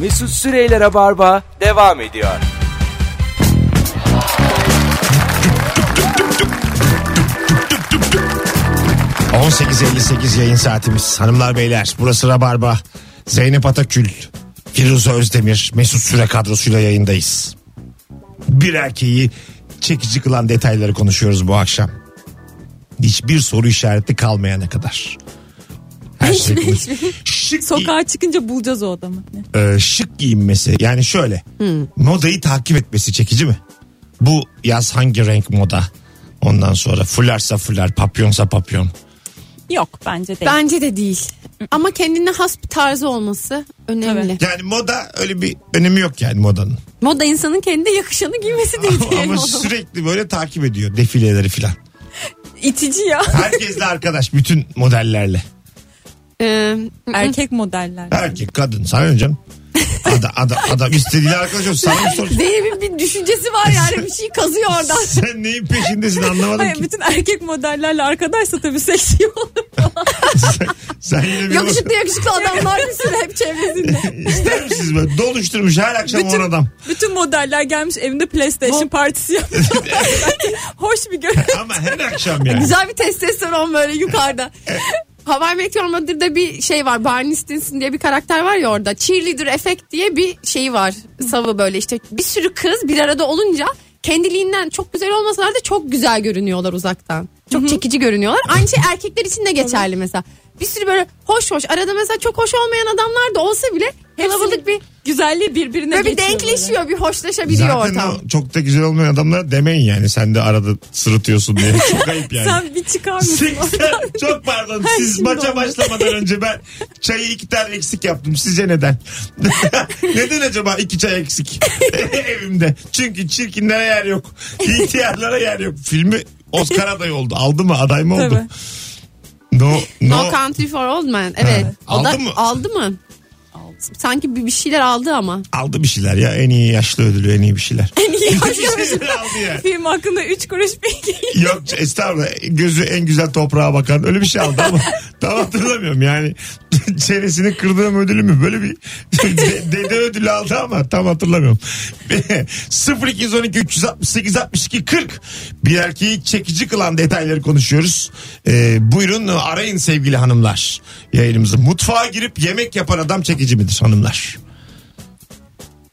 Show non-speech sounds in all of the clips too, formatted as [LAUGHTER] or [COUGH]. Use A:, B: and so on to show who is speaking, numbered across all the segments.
A: Mesut Süreyler'e barba devam ediyor.
B: Cık. 18.58 yayın saatimiz. Hanımlar beyler burası Rabarba. Zeynep Atakül, Firuze Özdemir, Mesut Süre kadrosuyla yayındayız. Bir erkeği çekici kılan detayları konuşuyoruz bu akşam. Hiçbir soru işareti kalmayana kadar. Her şey Şık,
C: Sokağa çıkınca bulacağız o adamı.
B: e, şık giyinmesi. Yani şöyle. Modayı takip etmesi çekici mi? Bu yaz hangi renk moda? Ondan sonra fularsa fular, papyonsa papyon.
C: Yok bence değil.
D: Bence de değil. Ama kendine has bir tarzı olması önemli.
B: Yani moda öyle bir önemi yok yani modanın.
D: Moda insanın kendine yakışanı giymesi [LAUGHS] değil.
B: [LAUGHS] Ama sürekli böyle takip ediyor defileleri filan.
C: itici ya.
B: Herkesle arkadaş bütün modellerle.
D: Ee,
C: Erkek modeller. E,
B: Erkek, kadın sana ne canım? Ada, ada, adam istediğiyle arkadaş olsun. Sana mı soruyorsun?
D: Zeynep'in bir düşüncesi var yani bir şey kazıyor oradan.
B: Sen neyin peşindesin anlamadım
C: Hayır
B: ki.
C: bütün erkek modellerle arkadaşsa tabii seksi olur.
B: Sen yine bir
D: Yakışıklı yakışıklı adamlar bir sürü hep
B: [LAUGHS]
D: çevresinde.
B: İster misiniz böyle? Doluşturmuş her akşam on
C: Bütün-
B: adam.
C: [LAUGHS] Bütün modeller gelmiş evinde PlayStation
B: [LAUGHS]
C: partisi yapıyorlar. Bence Hoş bir görüntü.
B: Ama her akşam yani.
D: Güzel bir testosteron böyle yukarıda. Hawaii Meteor Mother'da bir şey var. Barney Stinson diye bir karakter var ya orada. Cheerleader efekt diye bir şey var. Savı böyle işte bir sürü kız bir arada olunca kendiliğinden çok güzel olmasalar da çok güzel görünüyorlar uzaktan. Çok çekici görünüyorlar. Aynı şey erkekler için de geçerli mesela. Bir sürü böyle hoş hoş arada mesela çok hoş olmayan adamlar da olsa bile kalabalık bir
C: Güzelliği birbirine
D: böyle bir
C: geçiyor böyle.
D: denkleşiyor, bir hoşlaşabiliyor
B: Zaten
D: ortam.
B: o çok da güzel olmayan adamlara demeyin yani. Sen de arada sırıtıyorsun diye. Çok ayıp yani.
C: Sen bir çıkar [LAUGHS] mısın?
B: 80 [LAUGHS] çok pardon
C: Ay,
B: siz
C: şimdi
B: maça
C: oldu.
B: başlamadan önce ben çayı iki tane eksik yaptım sizce neden [LAUGHS] neden acaba iki çay eksik [LAUGHS] evimde çünkü çirkinlere yer yok ihtiyarlara yer yok filmi Oscar adayı oldu aldı mı aday mı oldu no,
D: No,
B: no,
D: Country for Old Men. Evet. O
B: Aldı
D: da-
B: mı?
D: Aldı mı? Sanki bir, bir şeyler aldı ama.
B: aldı bir şeyler ya en iyi yaşlı ödülü en iyi bir şeyler en iyi bir şeyler aldı ya
C: Film hakkında 3 kuruş bilgi.
B: Yok estağfurullah gözü en güzel toprağa bakan öyle bir şey aldı ama [LAUGHS] tam hatırlamıyorum yani [LAUGHS] çenesini kırdığım ödülü mü böyle bir [LAUGHS] de- dede ödülü aldı ama tam hatırlamıyorum. [LAUGHS] 0212 368 62 40 bir erkeği çekici kılan detayları konuşuyoruz. Ee, buyurun arayın sevgili hanımlar yayınımızı. Mutfağa girip yemek yapan adam çekici midir hanımlar?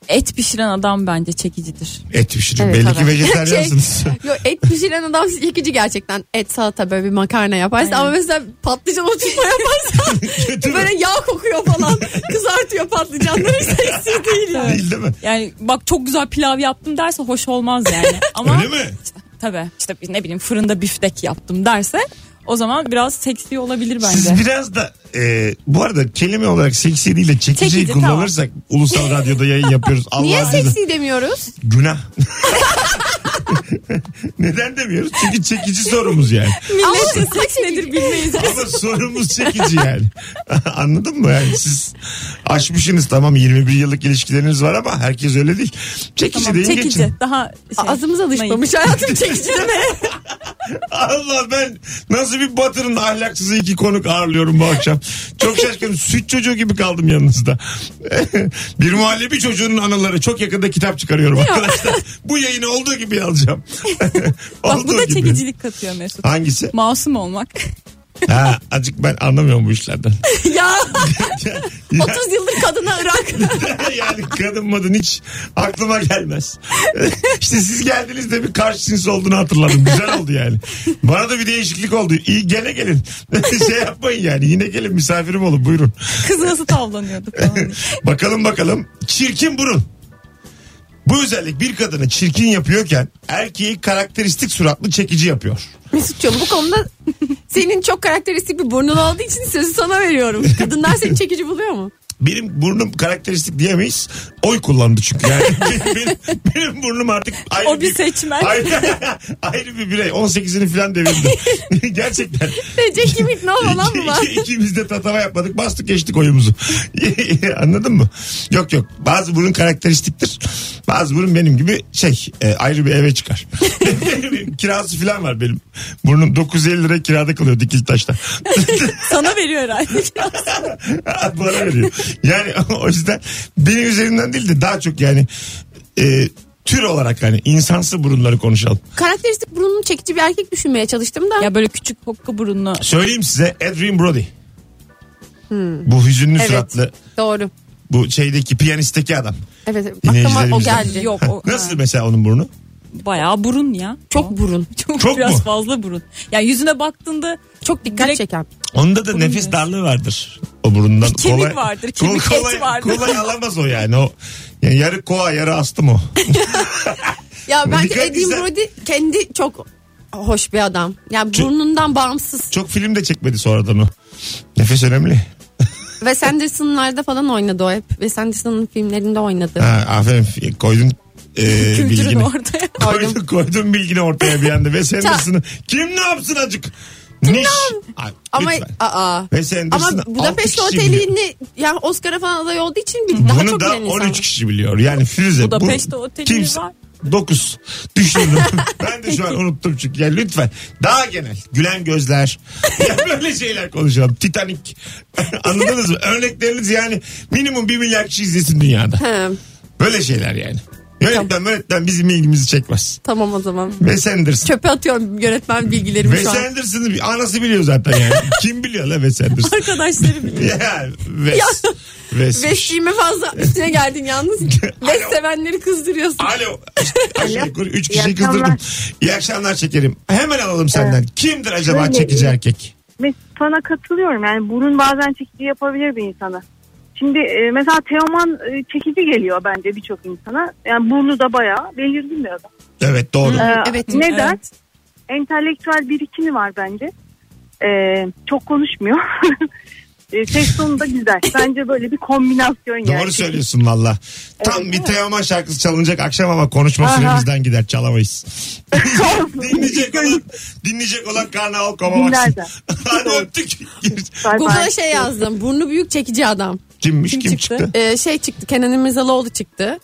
C: Et pişiren adam bence çekicidir.
B: Et pişirin
D: Evet,
B: belli
D: tabii. Şey,
B: ki
D: [LAUGHS]
B: vejetaryansınız.
D: Yo, et pişiren adam çekici gerçekten. Et salata böyle bir makarna yaparsa ama mesela patlıcan oturtma yaparsa
B: [LAUGHS] Kötü mü?
D: böyle yağ kokuyor falan. Kızartıyor
B: [LAUGHS]
D: patlıcanları seksi değil yani.
B: Değil değil mi?
C: Yani bak çok güzel pilav yaptım derse hoş olmaz
B: [LAUGHS]
C: yani. Ama
B: Öyle mi?
C: İşte, tabii işte ne bileyim fırında biftek yaptım derse o zaman biraz seksi olabilir bence.
B: Siz biraz da e, bu arada kelime olarak seksi değil de çekiciyi
C: Çekici,
B: kullanırsak ulusal radyoda yayın yapıyoruz.
D: Niye
B: Allah seksi?
D: seksi demiyoruz?
B: Günah. [LAUGHS] Neden demiyoruz? Çünkü çekici sorumuz yani.
C: Milletçe seks nedir bilmeyiz.
B: Ama sorumuz çekici yani. [LAUGHS] Anladın mı? Yani siz aşmışsınız tamam 21 yıllık ilişkileriniz var ama herkes öyle değil. Çekici
C: Tamam,
B: deyin
C: çekici
B: geçin.
C: daha şey,
D: Ağzımız
C: [LAUGHS]
D: alışmamış
C: naif.
B: [LAUGHS]
D: hayatım [LAUGHS] çekici deme.
B: Allah ben nasıl bir batırın ahlaksızı iki konuk ağırlıyorum bu akşam. Çok şaşkınım. Süt çocuğu gibi kaldım yanınızda. [LAUGHS] bir muhallebi çocuğunun anıları. Çok yakında kitap çıkarıyorum arkadaşlar. bu yayını olduğu gibi alacağım. [LAUGHS]
C: Bak bu
B: Olduğu
C: da
B: gibi.
C: çekicilik katıyor Mesut.
B: Hangisi?
C: Masum olmak.
B: Ha, azıcık ben anlamıyorum bu
C: [LAUGHS]
B: işlerden.
D: [LAUGHS] ya
B: Ya-
D: 30 yıldır kadına Irak.
B: [LAUGHS] yani kadın madın hiç aklıma gelmez. [LAUGHS] işte siz geldiniz de bir karşı cins olduğunu hatırladım. Güzel oldu yani. Bana da bir değişiklik oldu. İyi gene gelin. [LAUGHS] şey yapmayın yani. Yine gelin misafirim olun buyurun.
C: [LAUGHS] Kız nasıl tavlanıyordu falan.
B: Bakalım bakalım. Çirkin burun. Bu özellik bir kadını çirkin yapıyorken erkeği karakteristik suratlı çekici yapıyor.
D: Mesut'cum bu konuda senin çok karakteristik bir burnun olduğu için sözü
B: [LAUGHS]
D: sana veriyorum. Kadınlar seni çekici buluyor mu?
B: Benim burnum karakteristik diyemeyiz. Oy kullandı çünkü yani. [LAUGHS] benim, benim- benim burnum artık ayrı
C: O bir seçmen.
B: Ayrı, [LAUGHS] ayrı bir birey. 18'ini falan devirdim. [LAUGHS] Gerçekten.
C: E,
D: Recep Kimik ne falan mı var?
B: İki- iki- İkimiz de tatava yapmadık. Bastık geçtik oyumuzu. [LAUGHS] Anladın mı? Yok yok. Bazı burun karakteristiktir. Bazı burun benim gibi şey e, ayrı bir eve çıkar. [LAUGHS] Benim Kirası falan var benim. Burnum 950 [LAUGHS] lira kirada kalıyor Dikiltaş'ta.
C: Sana veriyor herhalde.
B: Bana veriyor. Yani [LAUGHS] o yüzden benim üzerinden değil de daha çok yani e, tür olarak hani insansı burunları konuşalım.
D: Karakteristik burnunu çekici bir erkek düşünmeye çalıştım
C: [LAUGHS]
D: da.
C: Ya böyle küçük pokka burunlu.
B: Söyleyeyim size Adrian Brody.
C: Hmm.
B: Bu hüzünlü
D: evet.
B: suratlı
D: Doğru.
B: bu şeydeki piyanistteki adam.
D: Evet. Aklıma o
B: Dinleyicilerimizden.
D: geldi.
C: Yok o.
B: Nasıl
C: ha.
B: mesela onun burnu?
C: Bayağı burun ya.
D: Çok burun.
C: Çok,
B: [LAUGHS] Çok
C: biraz
B: mu?
C: fazla burun. Yani yüzüne baktığında
D: Çok dikkat
C: Direkt-
D: çeken.
B: Onda da nefis
C: ne?
B: darlığı vardır. O burundan
C: Bir kemik vardır, kemik et
B: kolay,
C: vardır.
B: kolay alamaz o yani. O yani yarı koa, yarı astım o.
D: Ya bence
B: Dikkat
D: Edim
B: güzel.
D: Brody kendi çok hoş bir adam. Yani
B: Çok-
D: burnundan bağımsız.
B: Çok film de çekmedi sonradan o. Nefes önemli.
D: Wes Anderson'larda falan oynadı o hep. Wes Anderson'ın filmlerinde oynadı.
B: Ha, aferin koydun
D: [LAUGHS]
B: e,
C: kültürün
B: bilgini.
C: ortaya.
B: Koydun, koydun bilgini ortaya bir anda. Wes Anderson'ı kim ne yapsın acık? Kim Niş. Ay,
D: Ama
B: lütfen.
D: aa.
B: Wes Anderson'ı
D: Ama
B: altı
D: Budapest
B: kişi biliyor.
D: Oteli'ni yani Oscar'a falan aday olduğu için bir, daha
B: Bunu
D: çok
B: da
D: bilen
B: 13
D: insan.
B: kişi biliyor. Yani Firuze. bu
C: Budapest Oteli var.
B: 9.
D: [LAUGHS]
B: Düşündüm. ben de şu an unuttum çünkü. Yani lütfen daha genel. Gülen
D: [LAUGHS]
B: gözler. Ya böyle şeyler konuşalım. Titanic. [LAUGHS] Anladınız mı? Örnekleriniz yani minimum 1 milyar kişi izlesin dünyada.
D: He,
B: Böyle şeyler yani. Yönetmen yönetmen bizim ilgimizi çekmez.
D: tamam o zaman.
B: Wes Anderson.
D: Çöpe atıyorum yönetmen bilgilerimi
B: Wes
D: şu an.
B: Anderson'ı bir- anası biliyor zaten yani. Kim biliyor la Wes
D: [LAUGHS]
B: Anderson?
C: Arkadaşlarım
B: [LAUGHS] ya Wes. Wes'miş.
D: Vesliğime fazla üstüne geldin yalnız. Ves sevenleri kızdırıyorsun.
B: Alo. İşte aşağı
E: Alo.
B: yukarı üç
E: İyi
B: kişi kızdırdım.
E: akşamlar.
B: İyi akşamlar şekerim. Hemen alalım senden. Kimdir acaba
E: Öyle.
B: çekici erkek?
E: Mes- sana katılıyorum yani burun bazen çekici yapabilir bir insana. Şimdi e, mesela Teoman e, çekici geliyor bence birçok insana. Yani burnu da bayağı belirgin bir adam.
B: Evet doğru.
E: Ee,
D: evet.
E: Neden?
C: Evet.
E: Entelektüel birikimi var bence. Ee, çok konuşmuyor. [LAUGHS] Ee, ses tonu da güzel. Bence böyle bir kombinasyon yani.
B: Doğru söylüyorsun valla. Tam bir Teoman şarkısı çalınacak akşam ama konuşma
E: Aha.
B: süremizden gider çalamayız.
E: Doğru.
B: dinleyecek olan, dinleyecek olan karnaval koma baksın.
E: Dinler
B: [LAUGHS] Hadi öptük.
E: Bay
D: Google'a
E: bay.
D: şey yazdım. Burnu büyük çekici adam.
B: Kimmiş kim,
C: Kim
B: çıktı?
C: çıktı?
D: Ee, şey çıktı. Kenan İmirzalıoğlu çıktı.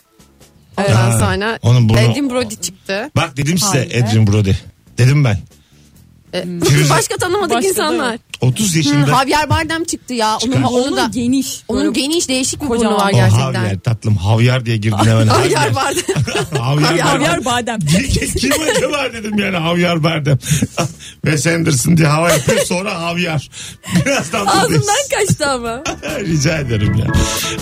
D: E, Ondan
B: Ha,
D: sonra
B: onun burnu-
D: Edim Brody çıktı.
B: Bak dedim size
C: Hayır.
B: Edrin Brody. Dedim ben.
D: Ee, [LAUGHS]
B: Firuze-
D: başka tanımadık
C: Başka da
D: insanlar.
C: yok.
B: 30
D: Hı,
B: yaşında.
D: Javier Bardem çıktı ya. Onun,
B: Çıkar.
D: onu da,
C: geniş.
D: onun
C: Böyle
D: geniş değişik bir
C: Kocaman.
D: burnu var
B: O
C: O
D: gerçekten.
B: Havyar tatlım. Havyar diye girdin hemen.
D: [LAUGHS] Javier Bardem.
B: [LAUGHS] Havyar. Havyar.
C: Kavyar badem.
B: [LAUGHS] Kim acaba dedim yani havyar verdim. [LAUGHS] Wes Anderson diye hava yapıyor sonra havyar. Birazdan buradayız.
D: Ağzımdan kaçtı ama.
B: [LAUGHS] Rica ederim ya.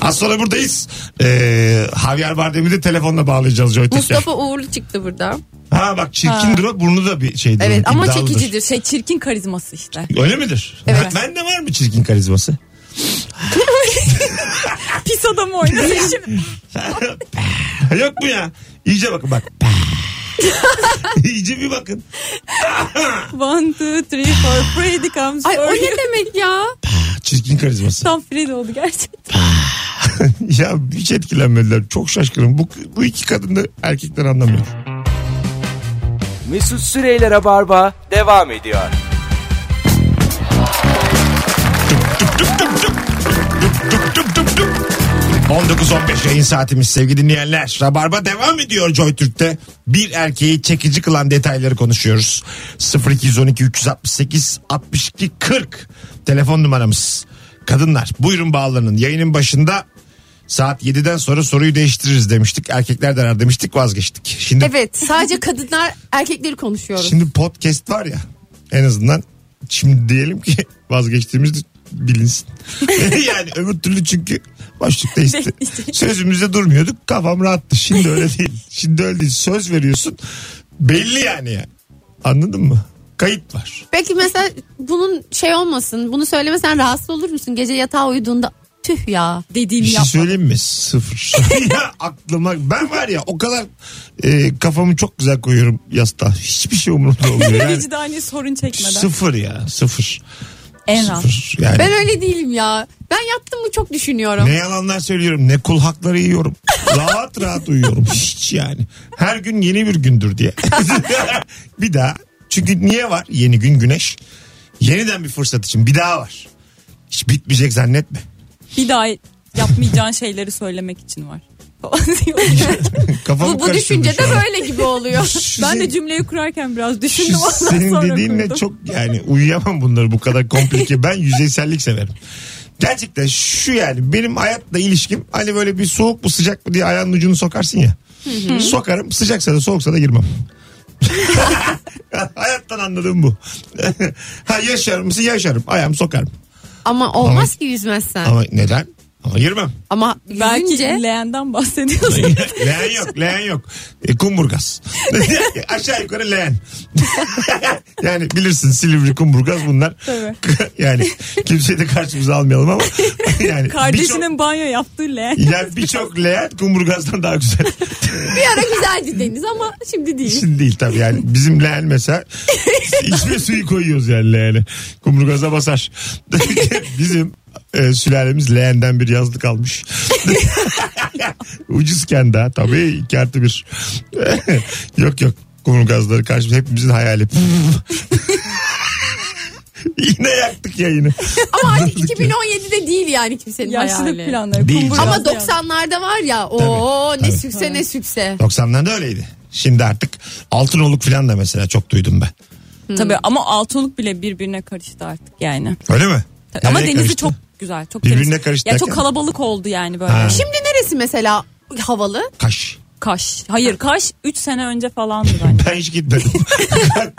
B: Az sonra buradayız. Ee, Havyar Bardem'i de telefonla bağlayacağız Joy Türk'e.
D: Mustafa Uğurlu çıktı burada.
B: Ha bak çirkindir o burnu da bir şeydir.
D: Evet ama
B: iddialıdır.
D: çekicidir. Şey,
C: Şey çirkin karizması işte.
B: Öyle midir?
D: Evet.
B: Ben, de var mı çirkin karizması?
C: Pis adam oynadı şimdi.
B: [LAUGHS] Yok mu ya? İyice bakın bak. [LAUGHS] İyice bir bakın.
C: One, two, three, four. Freddy comes
D: Ay
C: for
D: o
C: you.
D: ne demek ya?
B: Çirkin karizması.
C: Tam Freddy oldu gerçekten.
B: ya hiç etkilenmediler. Çok şaşkınım. Bu, bu iki kadın da erkekler anlamıyor.
A: Mesut Süreyler'e barba devam ediyor.
B: Dup dup dup dup. 19.15 yayın saatimiz sevgili dinleyenler. Rabarba devam ediyor JoyTürk'te. Bir erkeği çekici kılan detayları konuşuyoruz. 0212 368 62 40 telefon numaramız. Kadınlar buyurun bağlanın. Yayının başında saat 7'den sonra soruyu değiştiririz demiştik. Erkekler de arar demiştik vazgeçtik. Şimdi
D: [LAUGHS] Evet sadece kadınlar erkekleri konuşuyoruz.
B: Şimdi podcast var ya en azından şimdi diyelim ki [LAUGHS] vazgeçtiğimiz bilinsin. [LAUGHS] yani öbür türlü çünkü başlıkta iste. Sözümüzde durmuyorduk kafam rahattı. Şimdi öyle değil. Şimdi öyle değil. Söz veriyorsun belli yani ya. Anladın mı? Kayıt var.
D: Peki mesela bunun şey olmasın bunu söylemesen rahatsız olur musun? Gece yatağa uyuduğunda tüh ya.
C: Dediğimi
B: Bir şey
C: yap.
B: söyleyeyim mi? Sıfır. [LAUGHS] ya aklıma ben var ya o kadar e, kafamı çok güzel koyuyorum yastığa. Hiçbir şey umurumda olmuyor. Yani,
C: Vicdani sorun çekmeden.
B: sıfır ya sıfır.
C: en rahat.
B: Sıfır. Yani.
D: Ben öyle değilim ya. Ben yattım mı çok düşünüyorum.
B: Ne yalanlar söylüyorum ne kul hakları
D: [LAUGHS]
B: yiyorum. rahat rahat uyuyorum hiç yani. Her gün yeni bir gündür diye. [LAUGHS] bir daha. Çünkü niye var yeni gün güneş? Yeniden bir fırsat için bir daha var. Hiç bitmeyecek zannetme. [LAUGHS]
C: Bir daha yapmayacağın şeyleri söylemek için var.
B: Kafamı
D: Bu, bu düşünce de
B: karıştırdım şu an.
D: böyle
B: [LAUGHS]
D: gibi oluyor.
B: Şu
C: ben
B: senin-
C: de cümleyi kurarken biraz
B: şu
C: düşündüm ondan
B: şey senin
C: sonra
B: dediğinle
C: kurdum.
B: çok yani uyuyamam bunları bu kadar komplike. Ben yüzeysellik severim. Gerçekten şu yani benim hayatla ilişkim hani böyle bir soğuk mu sıcak mı diye ayağının ucunu sokarsın ya. Sokarım sıcaksa da soğuksa da girmem. [LAUGHS] Hayattan anladığım bu. [LAUGHS] ha yaşar mısın yaşarım. Ayağımı sokarım.
D: Ama olmaz ki yüzmezsen. Ama,
B: Ama neden? Ama girmem.
C: Belki
D: yüzünce
C: leğenden bahsediyorsun.
B: leğen yok leğen yok. E, kumburgaz. [LAUGHS] Aşağı yukarı leğen. [LAUGHS] yani bilirsin Silivri kumburgaz bunlar.
C: Tabii.
B: [LAUGHS] yani kimseyi de karşımıza almayalım
C: [LAUGHS]
B: ama. yani
C: Kardeşinin banyo yaptığı leğen.
B: birçok- yani birçok leğen kumburgazdan daha güzel.
D: bir ara güzeldi deniz ama şimdi değil.
B: Şimdi değil tabii yani. Bizim leğen mesela içme suyu koyuyoruz yani leğene. Kumburgaza basar. [LAUGHS] Bizim e, sülalemiz leğenden bir yazlık almış. [LAUGHS] Ucuzken daha tabii iki artı bir. [LAUGHS] yok yok kumburgazları karşı hepimizin hayali. [LAUGHS] Yine yaktık yayını.
D: [LAUGHS] Ama hani 2017'de değil yani kimsenin
C: Yaşlılık
D: hayali.
C: planları.
B: Değil
C: kumburgaz
D: Ama
C: yani.
D: 90'larda var ya o ne
B: tabii.
D: süpse ne süpse.
B: 90'larda öyleydi. Şimdi artık altın oluk falan da mesela çok duydum ben.
C: Tabii ama altınlık bile birbirine karıştı artık yani.
B: Öyle mi?
C: Tabii. Ama
B: Nereye
C: denizi
B: karıştı?
C: çok güzel. Çok
B: Birbirine
C: temiz.
B: karıştı
C: Ya çok
B: derken?
C: kalabalık oldu yani böyle.
B: Ha.
D: Şimdi neresi mesela havalı?
B: Kaş.
C: Kaş. Hayır Kaş 3 sene önce falandı
B: [LAUGHS]
C: bence.
B: Ben hiç
C: [LAUGHS]
B: gitmedim.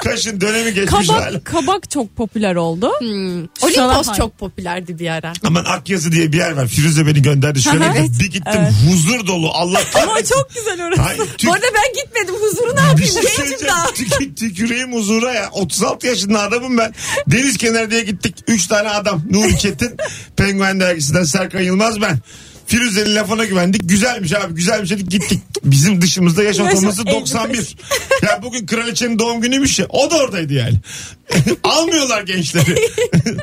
B: Kaşın dönemi geçmiş hala.
C: Kabak, kabak çok popüler oldu.
D: Hmm.
C: Şu
D: Olimpos
C: sıralar-
D: çok popülerdi bir ara.
B: Aman Akyazı diye bir yer var. Firuze beni gönderdi. Şöyle
C: Evet.
B: bir gittim huzur dolu. Allah
C: Ama
B: kahretsin.
C: çok güzel orası.
B: Hayır, tük-
C: Bu arada ben gitmedim huzuruna.
B: bir şey söyleyeceğim. Tük- tüküreyim huzura ya. 36 yaşında adamım ben. Deniz kenarı diye gittik. 3 tane adam. Nuri Çetin. [LAUGHS] Penguen dergisinden Serkan Yılmaz ben. Firuze'nin lafına güvendik. Güzelmiş abi güzelmiş dedik gittik. Bizim dışımızda yaş ortalaması 91. ya bugün kraliçenin doğum günüymüş ya. O da oradaydı yani. [LAUGHS] Almıyorlar gençleri.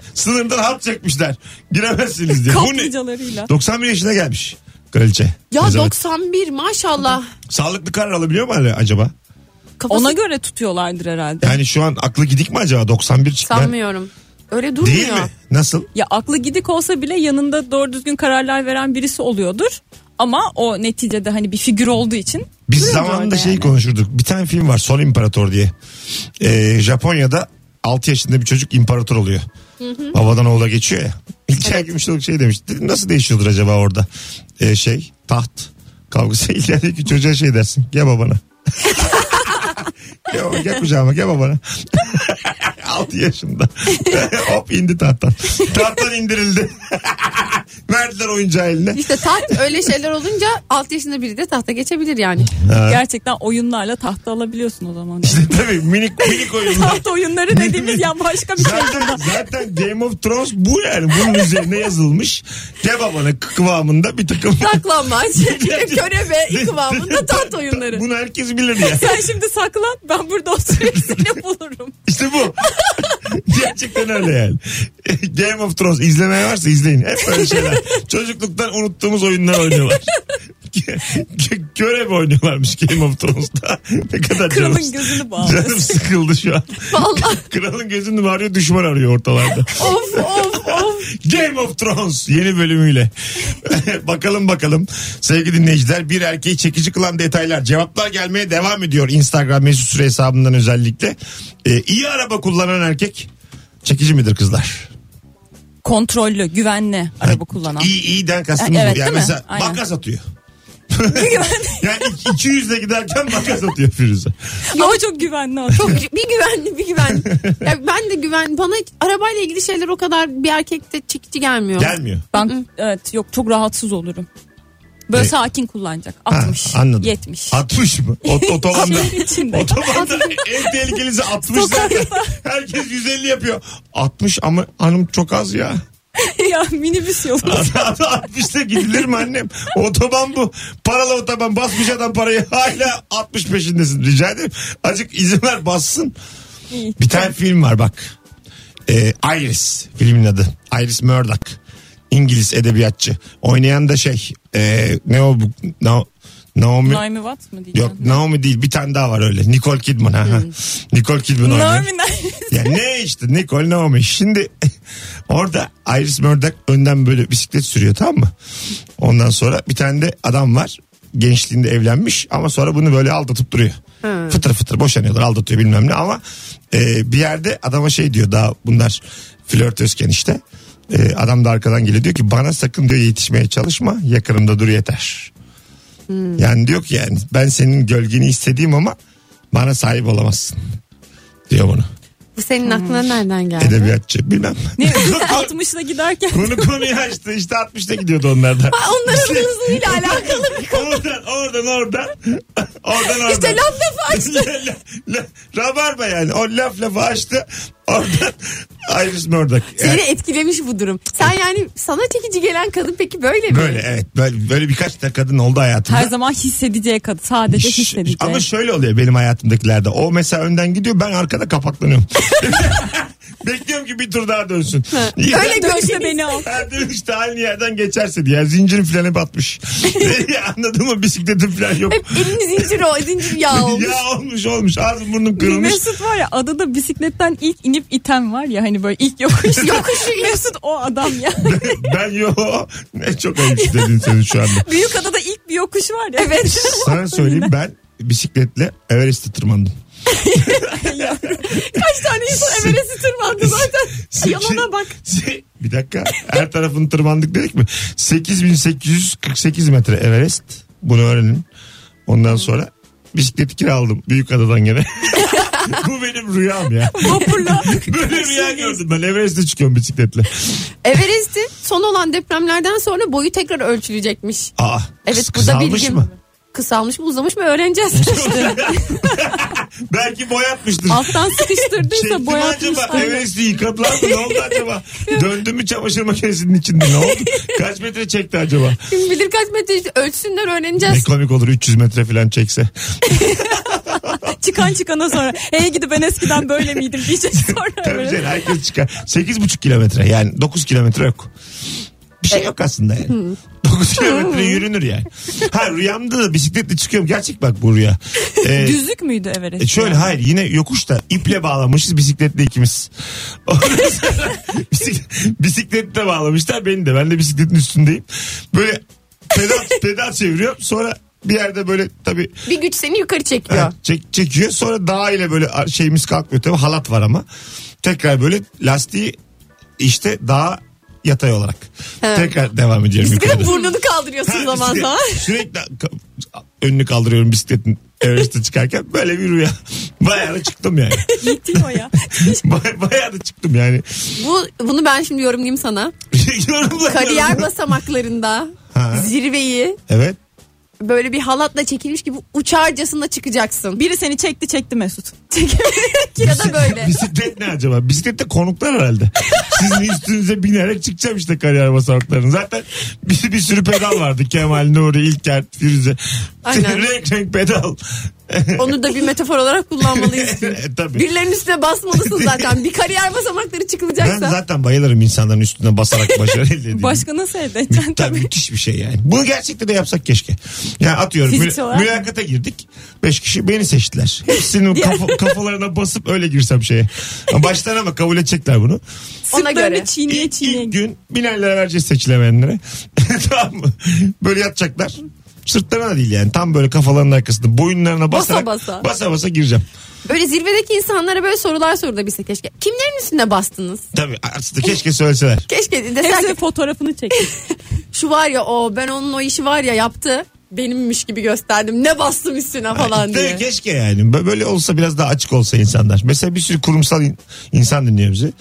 B: [LAUGHS] Sınırdan hat çekmişler. Giremezsiniz diye. Bu ne?
C: Kaplıcalarıyla.
B: 91 yaşına gelmiş kraliçe.
D: Ya
B: Elizabeth.
D: 91 maşallah.
B: Sağlıklı karar alabiliyor mu hala acaba?
D: Kafası
C: Ona göre tutuyorlardır herhalde.
B: Yani şu an aklı gidik mi acaba 91 çıktı?
D: sanmıyorum. Öyle durmuyor.
B: Değil mi? Nasıl?
C: Ya aklı gidik olsa bile yanında doğru düzgün kararlar veren birisi oluyordur. Ama o neticede hani bir figür olduğu için.
B: Biz
C: duruyordur
B: zamanında
C: orada
B: şeyi
C: yani.
B: konuşurduk. Bir tane film var Son İmparator diye. Ee, Japonya'da 6 yaşında bir çocuk imparator oluyor. Babadan oğula geçiyor ya. [LAUGHS] İlker Gümüşoluk şey demiş. Dedim, Nasıl değişiyordur acaba orada? Ee, şey taht kavgası. [LAUGHS] İlker'deki çocuğa şey dersin. Gel babana. [LAUGHS] gel, baba, gel kucağıma gel babana. [LAUGHS] 6 yaşında. [LAUGHS] Hop indi tahttan. Tahttan indirildi. [LAUGHS] Verdiler oyuncağı eline. [LAUGHS]
D: İşte taht öyle şeyler olunca 6 yaşında biri de tahta
B: [LAUGHS]
D: geçebilir yani.
C: Gerçekten oyunlarla tahta alabiliyorsun o zaman.
B: İşte tabii minik minik oyunlar. [LAUGHS]
C: tahta oyunları dediğimiz ya başka bir şey.
B: Zaten, zaten Game of Thrones bu yani. Bunun üzerine yazılmış. Kebabana kıvamında bir takım. [LAUGHS]
D: Saklanmaç, körebe kıvamında taht oyunları.
B: Bunu herkes bilir ya.
C: Sen şimdi saklan ben burada
B: [LAUGHS]
C: oturup seni bulurum.
B: İşte bu. [LAUGHS] Gerçekten öyle yani. Game of Thrones izlemeye varsa izleyin. Hep böyle şeyler. Çocukluktan unuttuğumuz oyunlar oynuyorlar. [LAUGHS] Körebe oynuyorlarmış Game of Thrones'ta. ne kadar
C: Kralın
B: canım-
C: gözünü bağlı.
B: Canım sıkıldı şu an.
D: Vallahi
B: Kralın gözünü mü arıyor düşman arıyor ortalarda.
D: of of of.
B: Game of Thrones yeni bölümüyle. [LAUGHS] bakalım bakalım sevgili dinleyiciler bir erkeği çekici kılan detaylar cevaplar gelmeye devam ediyor Instagram mesut süre hesabından özellikle. Ee, iyi araba kullanan erkek çekici midir kızlar?
C: Kontrollü, güvenli araba kullanan.
B: İyi iyiden kastımız
C: Evet,
B: bu. Yani
C: değil mi?
B: mesela
C: Aynen.
B: makas atıyor.
C: [LAUGHS]
B: [LAUGHS] yani 200 giderken makas atıyor Firuze.
C: Ama çok güvenli araba.
D: Çok gü- bir güvenli bir güvenli. Ya ben de güven bana hiç arabayla ilgili şeyler o kadar bir erkekte çekici gelmiyor.
B: Gelmiyor.
C: Ben evet yok çok rahatsız olurum. Böyle
B: Ne?
C: sakin kullanacak.
B: Ha,
C: 60,
B: anladım.
C: 70.
B: 60 mı? Ot otobanda.
C: Şehrin içinde.
B: Otobanda en tehlikelisi 60 zaten. Herkes 150 yapıyor. 60 ama hanım çok az ya.
C: [LAUGHS] ya minibüs yolu.
B: 60'ta gidilir mi annem? Otoban bu. Paralı otoban basmış adam parayı. Hala 65'indesin rica ederim. Azıcık izin ver bassın. Bir tane film var bak. Ee, Iris filmin adı. Iris Murdoch. İngiliz edebiyatçı. Oynayan da şey. ee, ne o bu? Na- Naomi.
C: Naomi Watts mı diyeceğim?
B: Yok Naomi değil bir tane daha var öyle. Nicole Kidman. ha, ha. Nicole Kidman oynuyor.
C: Naomi Naomi.
B: Ya ne işte Nicole Naomi. Şimdi [LAUGHS] orada Iris Murdoch önden böyle bisiklet sürüyor tamam mı? Ondan sonra bir tane de adam var. Gençliğinde evlenmiş ama sonra bunu böyle aldatıp duruyor. Fıtır fıtır boşanıyorlar aldatıyor bilmem ne ama e, bir yerde adama şey diyor daha bunlar flörtözken işte. Ee, adam da arkadan geliyor diyor ki bana sakın diyor yetişmeye çalışma yakınımda dur yeter. Yani diyor ki yani ben senin gölgeni istediğim ama bana sahip olamazsın diyor bunu.
D: Bu senin aklına
B: Hmm.
D: nereden geldi?
B: Edebiyatçı bilmem.
C: Ne
B: [LAUGHS]
C: 60'la giderken
B: Konu konuyu açtı işte 60'ta gidiyordu onlardan.
D: Onların hızıyla alakalı bir
B: oradan oradan oradan. oradan oradan.
D: İşte
B: [LAUGHS]
D: laf lafı açtı.
B: La- la- la- Rabarba yani. O laf lafı açtı. Oradan Iris Murdoch. Yani
D: Seni etkilemiş bu durum. Sen yani sana çekici gelen kadın peki böyle mi?
B: böyle evet. Böyle, böyle birkaç da kadın oldu hayatımda.
C: her zaman hissedeceği kadın sadece
B: Ş-
C: hissedeceği.
B: Ama şöyle oluyor benim hayatımdakilerde. O mesela önden gidiyor ben arkada kapaklanıyorum. [LAUGHS] Bekliyorum ki bir tur daha dönsün. Ya-
D: Öyle
C: Dönüşte
B: [LAUGHS]
C: beni al.
B: Ha, dedim işte aynı yerden geçerse diye. Zincirin falan batmış. [LAUGHS] Anladın mı? Bisikletim falan yok.
D: Hep elin zincir o zincir yağ olmuş.
B: ya olmuş olmuş. Ağzım burnum
C: Bir
B: kırılmış.
C: Mesut var ya adada bisikletten ilk inip iten var ya hani böyle ilk yokuş.
D: Yokuşu in.
C: Mesut o adam ya.
B: ben yo. Ne çok ayıp dedin senin şu
C: [LAUGHS]
B: anda.
C: [LAUGHS] Büyük adada ilk bir yokuş var ya. Evet. [LAUGHS]
B: Sana söyleyeyim ben bisikletle Everest'e tırmandım.
C: Şey [LAUGHS] Kaç tane insan Everest'i tırmandı zaten. Yalana bak.
B: [LAUGHS] Se- Bir dakika. Her tarafını tırmandık dedik mi? 8848 metre Everest. Bunu öğrenin. Ondan sonra bisikleti kiraladım. Büyük adadan gene. [LAUGHS] Bu benim rüyam ya.
C: Vapurla.
B: [LAUGHS] Böyle rüya gördüm ben. Everest'e çıkıyorum bisikletle.
D: Everest'in son olan depremlerden sonra boyu tekrar ölçülecekmiş.
B: Aa,
D: Evet
B: kız-
D: burada
B: kızarmış
D: bilgim.
B: mı?
D: Kısalmış mı uzamış mı
B: [LAUGHS]
D: öğreneceğiz.
B: Belki boyatmıştır.
C: Alttan
B: Çekti mi
C: sıkıştırdıysa
B: Şey, acaba?
C: boyatmışlar.
B: Everest'i yıkadılar mı? Ne oldu
C: [LAUGHS]
B: acaba? Döndü mü çamaşır makinesinin içinde? Ne oldu? Kaç metre çekti acaba?
D: Kim bilir kaç metre işte ölçsünler
B: Ne
D: öğreneceğiz.
B: komik olur 300 metre falan çekse.
C: [LAUGHS] Çıkan çıkana sonra. Hey gidi ben eskiden böyle miydim diyecek sonra.
B: Tabii
C: Everest.
B: canım herkes çıkar. 8,5 kilometre yani 9 kilometre yok. Bir şey yok aslında yani. 9 kilometre yürünür yani. Ha rüyamda da bisikletle çıkıyorum. Gerçek bak bu rüya. Ee,
C: Düzlük müydü
B: E
C: Everest?
B: şöyle hayır yine yokuşta iple bağlamışız bisikletle ikimiz. [LAUGHS] Ondan sonra bisik- bisikletle bağlamışlar beni de. Ben de bisikletin üstündeyim. Böyle pedal, [LAUGHS] pedal çeviriyorum. Sonra bir yerde böyle tabii
D: Bir güç seni yukarı
B: ha,
D: çekiyor.
B: [LAUGHS] çek, çekiyor. Sonra dağ ile böyle a- şeyimiz kalkmıyor. Tabii halat var ama. Tekrar böyle lastiği işte daha yatay olarak. Tekrar devam ediyorum.
D: Bir
B: yukarıda.
D: de burnunu kaldırıyorsun
B: Ha,
D: zaman
B: işte [LAUGHS]
D: [LAUGHS] zaman.
B: Sürekli ka- önünü kaldırıyorum bisikletin Everest'e çıkarken böyle bir rüya. [LAUGHS] Bayağı da çıktım yani.
C: Yetiyor ya.
B: Bay- Bayağı da çıktım yani. [LAUGHS]
D: Bu, bunu ben şimdi yorumlayayım sana.
B: Yorumlamıyorum.
D: Kariyer basamaklarında
B: Ha.
D: zirveyi
B: Evet.
D: böyle bir halatla çekilmiş gibi uçarcasına çıkacaksın.
C: Biri seni çekti çekti Mesut.
D: ya da
B: [LAUGHS]
D: böyle.
B: Bisiklet ne acaba? Bisiklette konuklar herhalde. Sizin üstünüze binerek çıkacağım işte kariyer basamaklarını. Zaten bir, bir sürü pedal vardı. Kemal, Nuri, İlker, Firuze. [LAUGHS]
D: Aynen.
B: renk renk pedal.
D: Onu da bir metafor olarak kullanmalıyız.
B: [LAUGHS] E, Tabii.
D: Birilerinin üstüne basmalısın zaten. Bir kariyer basamakları
B: Ben
D: çıkılacaksa.
B: zaten bayılırım insanların üstüne basarak başarı elde edeyim.
C: Başka nasıl [LAUGHS] elde
B: Mü- [LAUGHS]
C: edeceksin
B: tabii
C: tabii.
B: müthiş bir şey yani. Bunu gerçekten de yapsak keşke. Yani atıyorum
C: Fiziksel
B: mü-
C: olarak.
B: mülakata girdik. Beş kişi beni seçtiler. Hepsinin kafa- kafalarına basıp öyle girsem şeye. Baştan ama kabul edecekler bunu.
D: Ona göre.
C: Sırtlarını çiğneye
B: İlk, ilk
C: çiğneye.
B: gün binerlere vereceğiz seçilemeyenlere. [LAUGHS] tamam mı? Böyle yatacaklar. Sırtlarına da değil yani. Tam böyle kafalarının arkasında boyunlarına basarak, basa
D: basa.
B: basa. gireceğim.
D: Böyle zirvedeki insanlara böyle sorular sorulabilse keşke. Kimlerin üstüne bastınız?
B: Tabii aslında keşke söyleseler.
D: Keşke desen
C: Hepsi
D: ki
C: fotoğrafını çekti.
D: şu var ya o ben onun o işi var ya yaptı. Benimmiş gibi gösterdim. Ne bastım üstüne [LAUGHS] falan
B: Tabii
D: diye.
B: keşke yani. Bö- Böyle olsa biraz daha açık olsa insanlar. Mesela bir sürü kurumsal in- insan dinliyor bizi.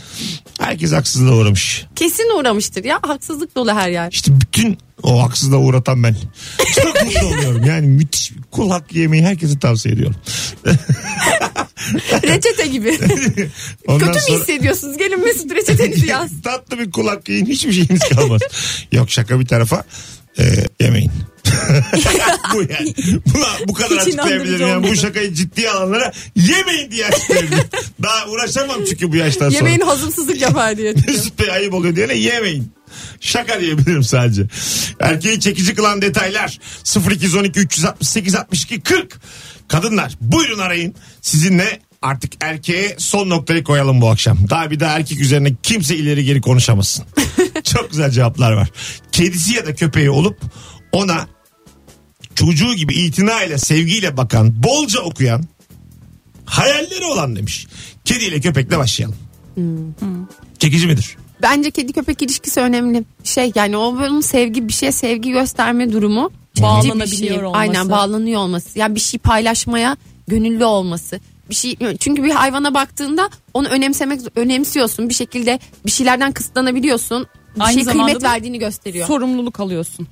B: Herkes haksızlığa uğramış.
D: Kesin uğramıştır ya. Haksızlık dolu her yer.
B: İşte bütün o haksızlığa uğratan ben. [LAUGHS] Çok mutlu oluyorum. Yani müthiş bir kul hakkı yemeği herkese tavsiye ediyorum. [LAUGHS]
D: Reçete gibi.
B: Ondan
D: Kötü mü
B: sonra-
D: hissediyorsunuz? Gelin Mesut
B: [LAUGHS]
D: reçetenizi yaz.
B: Tatlı bir kul hakkı yiyin hiçbir şeyiniz kalmaz. Yok şaka bir tarafa Ee, yemeyin. bu yani. Bu, bu kadar
C: Hiç
B: açıklayabilirim
C: inandırıcı
B: yani. Bu
C: olmadı.
B: şakayı ciddiye alanlara yemeyin diye açıklayabilirim. Daha uğraşamam çünkü bu yaştan sonra.
D: Yemeğin hazımsızlık yapar diye.
B: Mesut Bey ayıp oluyor diyene yemeyin. Şaka diyebilirim sadece. Erkeği çekici kılan detaylar 0212 368 62 40. Kadınlar buyurun arayın. Sizinle artık erkeğe son noktayı koyalım bu akşam. Daha bir daha erkek üzerine kimse ileri geri [LAUGHS] konuşamasın. Çok güzel cevaplar var. Kedisi ya da köpeği olup ona çocuğu gibi itinayla sevgiyle bakan, bolca okuyan, hayalleri olan demiş. Kediyle köpekle başlayalım. Çekici midir?
D: Bence kedi köpek ilişkisi önemli. Şey yani o bölüm sevgi bir şeye sevgi gösterme durumu. Çekici
C: Bağlanabiliyor
D: bir şey.
C: olması.
D: Aynen bağlanıyor olması. Yani bir şey paylaşmaya gönüllü olması. Bir şey çünkü bir hayvana baktığında onu önemsemek önemsiyorsun. Bir şekilde bir şeylerden kısıtlanabiliyorsun. Bir
C: Aynı
D: şey
C: zamanda
D: kıymet
C: da
D: verdiğini gösteriyor.
C: Sorumluluk alıyorsun.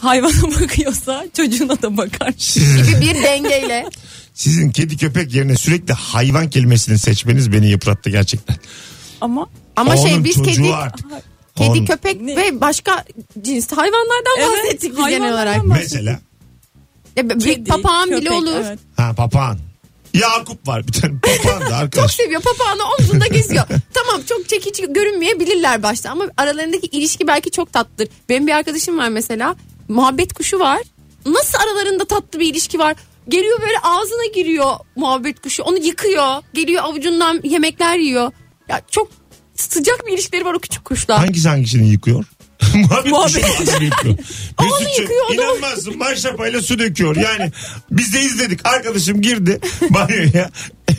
C: Hayvana [LAUGHS] bakıyorsa çocuğuna da bakar.
D: gibi
C: [LAUGHS]
D: bir dengeyle.
B: Sizin kedi köpek yerine sürekli hayvan kelimesini seçmeniz beni yıprattı gerçekten.
C: Ama
D: Ama şey
B: Oğlum
D: biz
B: çocuğu
D: kedi
B: artık.
D: [LAUGHS] kedi
B: Oğlum.
D: köpek
C: Ne?
D: ve başka cins hayvanlardan
C: Evet,
D: bahsettik biz genel
C: hayvanlardan
D: olarak.
C: bahsettik.
B: Mesela
D: Ya, bir
C: kedi,
D: papağan bile
C: köpek,
D: olur.
C: evet.
B: ha papağan. Yakup var bir
D: [LAUGHS]
B: tane papağan da
D: Çok
B: arkadaş.
D: seviyor. Papağanı omzunda geziyor. tamam çok çekici görünmeyebilirler başta ama aralarındaki ilişki belki çok tatlıdır. Benim bir arkadaşım var mesela. Muhabbet kuşu var. Nasıl aralarında tatlı bir ilişki var? Geliyor böyle ağzına giriyor muhabbet kuşu. Onu yıkıyor. Geliyor avucundan yemekler yiyor. Ya çok sıcak bir ilişkileri var o küçük kuşla.
B: Hangisi hangisini yıkıyor? [LAUGHS] Muhabbet kuşu
C: Muhabbet.
B: hangisini yıkıyor.
D: [LAUGHS] Onu
B: Mesut'cum,
D: yıkıyor, onu-
B: inanmazsın maşrapayla su döküyor. Yani biz de izledik. Arkadaşım girdi [LAUGHS] banyoya.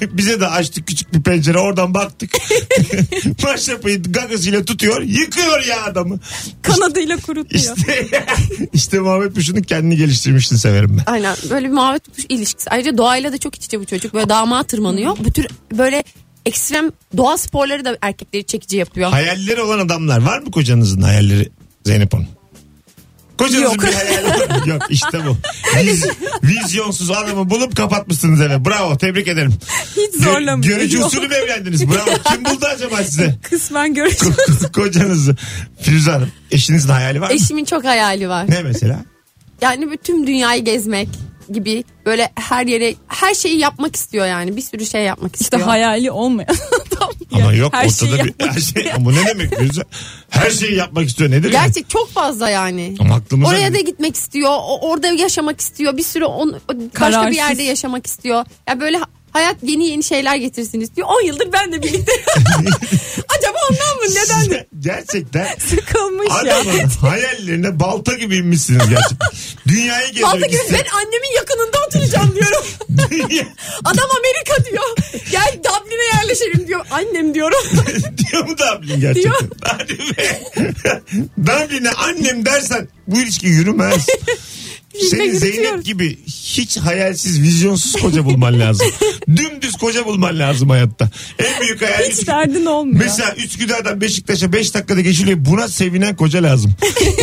B: Bize de açtık küçük bir pencere oradan baktık.
D: [LAUGHS]
B: [LAUGHS] maşrapayı gagasıyla tutuyor yıkıyor ya adamı.
C: kanadıyla kurutuyor.
B: İşte, [LAUGHS] işte Muhabbet Kuşu'nun kendini geliştirmişsin severim ben.
D: Aynen böyle bir muhabbet kuş ilişkisi. Ayrıca doğayla da çok iç içe bu çocuk. Böyle damağa tırmanıyor. Bu tür böyle ekstrem doğa sporları da erkekleri çekici yapıyor.
B: Hayalleri olan adamlar var mı kocanızın hayalleri Zeynep Hanım? Kocanızın
D: Yok.
B: bir hayali var mı? Yok işte
C: [LAUGHS]
B: bu. Viz- vizyonsuz adamı bulup kapatmışsınız eve. Bravo tebrik ederim.
C: Hiç
B: Gö-
C: zorlamıyor.
B: Görücü
C: Yok.
B: usulü mü evlendiniz?
C: [LAUGHS]
B: Bravo. Kim buldu acaba size?
C: Kısmen görücü.
B: Ko- Kocanızı. Firuze Hanım eşinizin hayali var mı?
D: Eşimin çok hayali var.
B: Ne mesela?
D: Yani bütün dünyayı gezmek gibi böyle her yere her şeyi yapmak istiyor yani. Bir sürü şey yapmak
C: İşte
D: istiyor.
C: hayali
D: [LAUGHS]
C: olmayan adam.
B: Ama
C: ya.
B: yok
C: Her şeyi
B: ortada bir
C: yapmak
B: her şey. Ama bu ne demek Firuze? Her şeyi yapmak istiyor nedir? yani?
D: Gerçek çok fazla yani.
B: Ama aklımıza
D: Oraya da gitmek istiyor. o- Orada yaşamak istiyor. Bir sürü on, o- başka bir
C: Kararsız.
D: yerde yaşamak istiyor. Ya böyle ha- hayat yeni yeni şeyler getirsin istiyor. 10 yıldır benle birlikte. Acaba ondan mı? Neden?
B: Size gerçekten
C: [LAUGHS] Sıkılmış ya.
B: adamın hayallerine balta gibi inmişsiniz gerçekten. Dünyayı
D: Fazla
B: gezmek
D: gibi
B: istiyor.
D: ben annemin yakınında oturacağım diyorum.
B: [LAUGHS] Dünya-
D: Adam Amerika diyor. Gel Dublin'e yerleşelim diyor. Annem diyorum. [LAUGHS]
B: Diyor mu Dublin gerçekten? Hadi be. [LAUGHS] Dublin'e annem dersen bu ilişki yürümez. Senin
D: yürütüyoruz.
B: Zeynep gibi hiç hayalsiz, vizyonsuz koca bulman lazım. Dümdüz koca bulman lazım hayatta. En büyük hayal
C: Hiç derdin olmuyor.
B: Mesela Üsküdar'dan Beşiktaş'a 5 dakikada geçiliyor. Buna sevinen koca lazım.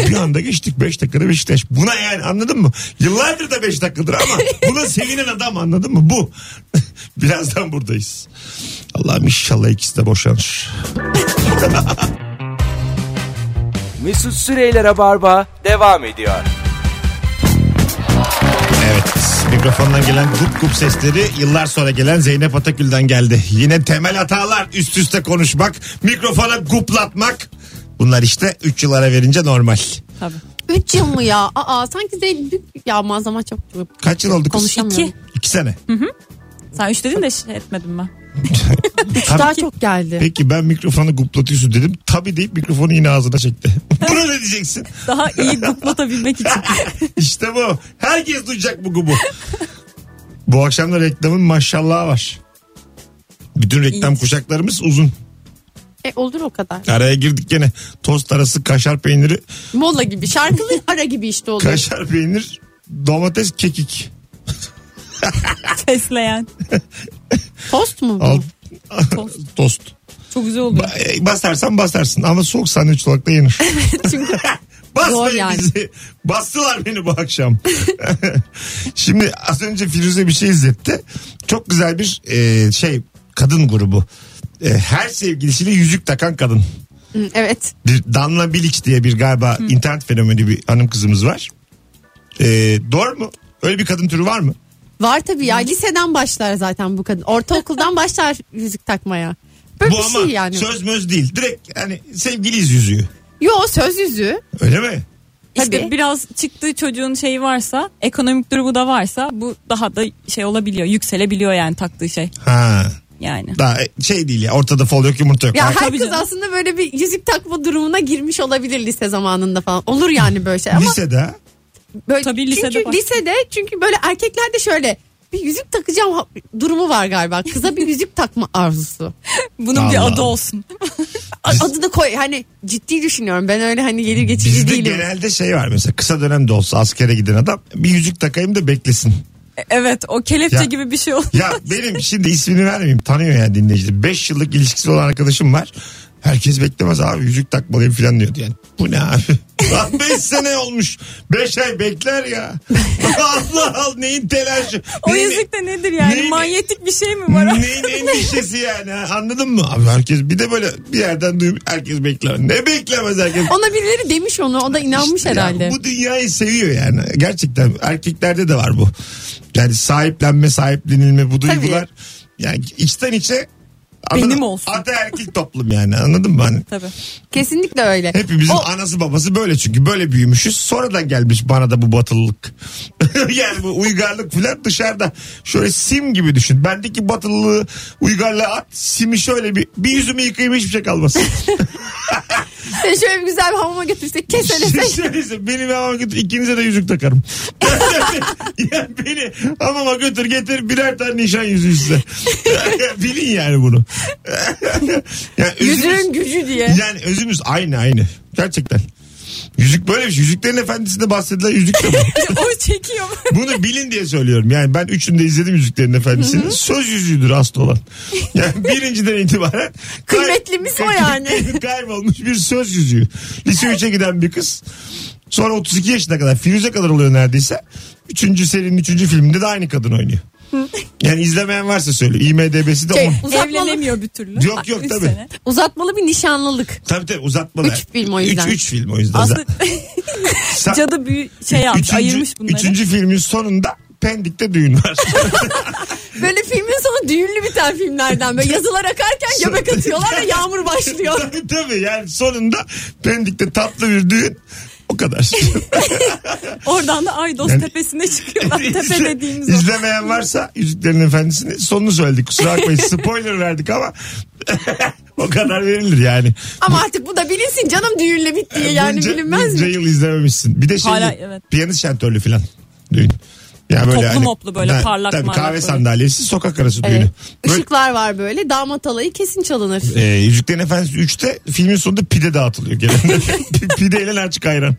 B: bir anda geçtik 5 dakikada Beşiktaş. Buna yani anladın mı? Yıllardır da 5 dakikadır ama buna sevinen adam anladın mı? Bu. [LAUGHS] Birazdan buradayız. Allah'ım inşallah ikisi de boşanır.
A: Mesut Süreyler'e barba devam ediyor.
B: Evet mikrofondan gelen gup gup sesleri yıllar sonra gelen Zeynep Atakül'den geldi. Yine temel hatalar üst üste konuşmak, mikrofona guplatmak. Bunlar işte 3 yıllara verince normal.
C: Tabii.
D: 3 yıl mı ya? Aa sanki de büyük ya muazzam çok
B: Kaç yıl oldu kız?
D: konuşamıyorum.
C: İki.
B: 2 sene.
C: Sen üç dedin de şey etmedim ben.
B: Tabii.
D: Daha çok geldi.
B: Peki ben mikrofonu guplatıyorsun dedim. Tabi deyip mikrofonu yine ağzına çekti. [LAUGHS] Buna ne diyeceksin? [LAUGHS]
C: Daha iyi guplatabilmek için.
B: İşte bu. Herkes duyacak bu gubu. bu akşam da reklamın maşallahı var. Bütün reklam
C: İyi.
B: kuşaklarımız uzun.
D: E, olur o kadar.
B: Araya girdik gene. Tost arası kaşar peyniri.
D: Molla gibi şarkılı ara gibi işte olur.
B: Kaşar peynir, domates, kekik.
C: Fesleyen.
D: Tost mu? bu?
B: Al. [LAUGHS] Tost.
C: Çok güzel oluyor.
B: E, Basarsan basarsın ama soğuk sandviç olarak da
D: [LAUGHS]
B: yenir.
D: Çünkü
B: [LAUGHS] Basmayın
D: Zor yani.
B: bizi. Bastılar beni bu akşam. [LAUGHS] Şimdi az önce Firuze bir şey izletti. Çok güzel bir e, şey kadın grubu. E, her sevgilisiyle yüzük takan kadın.
D: Hı, evet.
B: Bir Danla Bilic diye bir galiba internet fenomeni bir hanım kızımız var. E, doğru mu? Öyle bir kadın türü var mı?
D: Var tabii ya liseden başlar zaten bu kadın. Ortaokuldan başlar yüzük takmaya. Böyle
B: bu
D: bir
B: ama
D: şey yani.
B: söz möz değil. Direkt hani sevgiliyiz yüzüğü.
D: Yo söz yüzüğü.
B: Öyle mi?
C: İşte
D: Tabii.
C: biraz çıktığı çocuğun şeyi varsa, ekonomik durumu da varsa bu daha da şey olabiliyor, yükselebiliyor yani taktığı şey.
B: Ha.
C: Yani.
B: Daha şey değil ya ortada fol yok yumurta yok.
D: Ya her
C: Tabii
D: kız
C: canım.
D: aslında böyle bir yüzük takma durumuna girmiş olabilir lise zamanında falan. Olur yani böyle şey. Ama
B: Lisede ha?
D: Böyle,
C: Tabii
D: çünkü
C: lisede başlıyor.
D: lisede çünkü böyle erkekler de şöyle bir yüzük takacağım ha- durumu var galiba. Kıza bir yüzük takma arzusu.
C: Bunun
B: Allah
C: bir
B: Allah.
C: adı olsun.
D: A- Adını koy hani ciddi düşünüyorum. Ben öyle hani gelir geçici
B: Bizde
D: değilim.
B: genelde şey var mesela kısa dönemde olsa askere giden adam bir yüzük takayım da beklesin.
C: E, Evet o kelepçe
B: Ya-
C: gibi bir şey olur.
B: Ya benim şimdi ismini vermeyeyim tanıyor yani dinleyici. 5 yıllık ilişkisi olan arkadaşım var. Herkes beklemez abi yüzük takmalıyım falan diyordu yani. Bu ne abi? [LAUGHS] 5 sene olmuş. 5 ay bekler ya. [LAUGHS] Allah Allah neyin telaşı?
C: O
B: Neyin-
C: yüzük de nedir yani?
B: Neyin-
C: Manyetik bir şey mi var?
B: Neyin endişesi yani ha? anladın mı? Abi herkes bir de böyle bir yerden duyup herkes bekler. Ne beklemez herkes?
D: Ona birileri demiş onu. O da inanmış
B: İşte ya,
D: herhalde.
B: bu dünyayı seviyor yani. Gerçekten erkeklerde de var bu. Yani sahiplenme, sahiplenilme bu
D: Tabii.
B: duygular. Yani içten içe
C: Benim
B: anladın mı?
C: olsun.
B: Ataerkil toplum yani anladın mı? Hani
C: [LAUGHS] Tabii.
D: Kesinlikle öyle.
B: hepimizin
D: O-
B: anası babası böyle çünkü böyle büyümüşüz. Sonradan gelmiş bana da bu batılılık. [LAUGHS] yani bu uygarlık falan dışarıda. Şöyle sim gibi düşün. Bendeki batılılığı uygarlığa at. Simi şöyle bir, bir yüzümü yıkayayım hiçbir şey kalmasın.
D: Seni şöyle bir güzel bir hamama götürsek [LAUGHS] keselesek.
B: Şöyleyse benim şey, hamama götür ikinize de yüzük takarım. ya beni hamama götür getir birer tane nişan yüzüğü size. [LAUGHS] Bilin yani bunu. [LAUGHS] yani özümüz,
D: Yüzünün gücü diye.
B: yani özümüz aynı aynı. Gerçekten. Yüzük böyle bir şey. Yüzüklerin Efendisi'nde bahsedilen yüzük de bu.
C: o
D: [LAUGHS]
C: çekiyor.
B: Bunu bilin diye söylüyorum. Yani ben üçünü de izledim Yüzüklerin Efendisi'ni. Söz yüzüğüdür aslı olan.
D: [LAUGHS]
B: Yani birinciden itibaren. kay-
D: Kıymetlimiz o yani.
B: [LAUGHS] Kaybolmuş bir söz yüzüğü. Lise 3'e giden bir kız. Sonra 32 yaşına kadar Firuze kadar oluyor neredeyse. Üçüncü serinin üçüncü filminde de aynı kadın oynuyor. Yani izlemeyen varsa söyle. IMDB'si de
D: Şey,
B: 10.
D: Uzatmalı.
C: Evlenemiyor bir türlü.
B: Yok, yok,
C: Üç
B: tabii.
C: sene.
D: Uzatmalı bir nişanlılık.
B: Tabii tabii uzatmalı.
D: Üç film o yüzden.
B: Üç, üç film o yüzden.
C: Aslında
B: Sa-
C: [LAUGHS] cadı büyü şey yapmış ayırmış bunları.
B: Üçüncü filmin sonunda Pendik'te düğün var.
D: Böyle filmin sonu düğünlü biten filmlerden. Böyle yazılar akarken göbek atıyorlar ve yağmur başlıyor.
B: [LAUGHS] tabii tabii yani sonunda Pendik'te tatlı bir düğün. O
C: [LAUGHS]
B: kadar.
C: Oradan da Aydos
B: Yani-
C: tepesine
B: [LAUGHS]
C: çıkıyorlar. Tepe
B: İzle-
C: dediğimiz
B: [LAUGHS]
C: o.
B: İzlemeyen varsa Yüzüklerin Efendisi'ni sonunu söyledik. Kusura bakmayın spoiler verdik ama [LAUGHS] o kadar verilir yani.
D: Ama artık bu da bilinsin canım düğünle bittiği yani
B: Bunca-
D: bilinmez
B: bunca
D: mi?
B: yıl izlememişsin. Bir de şey
C: Hala, evet.
B: piyanist şantörlü falan düğün. Yani böyle hani
C: Toplu moplu böyle parlak
B: Tabii
C: marlak
B: kahve
C: böyle.
B: sandalyesi sokak arası
D: Evet.
B: düğünü. Böyle,
D: Işıklar var böyle damat alayı kesin çalınır.
B: e, Yüzüklerin Efendisi 3'te filmin sonunda pide dağıtılıyor genelde. [LAUGHS] Pideyle açık ayran.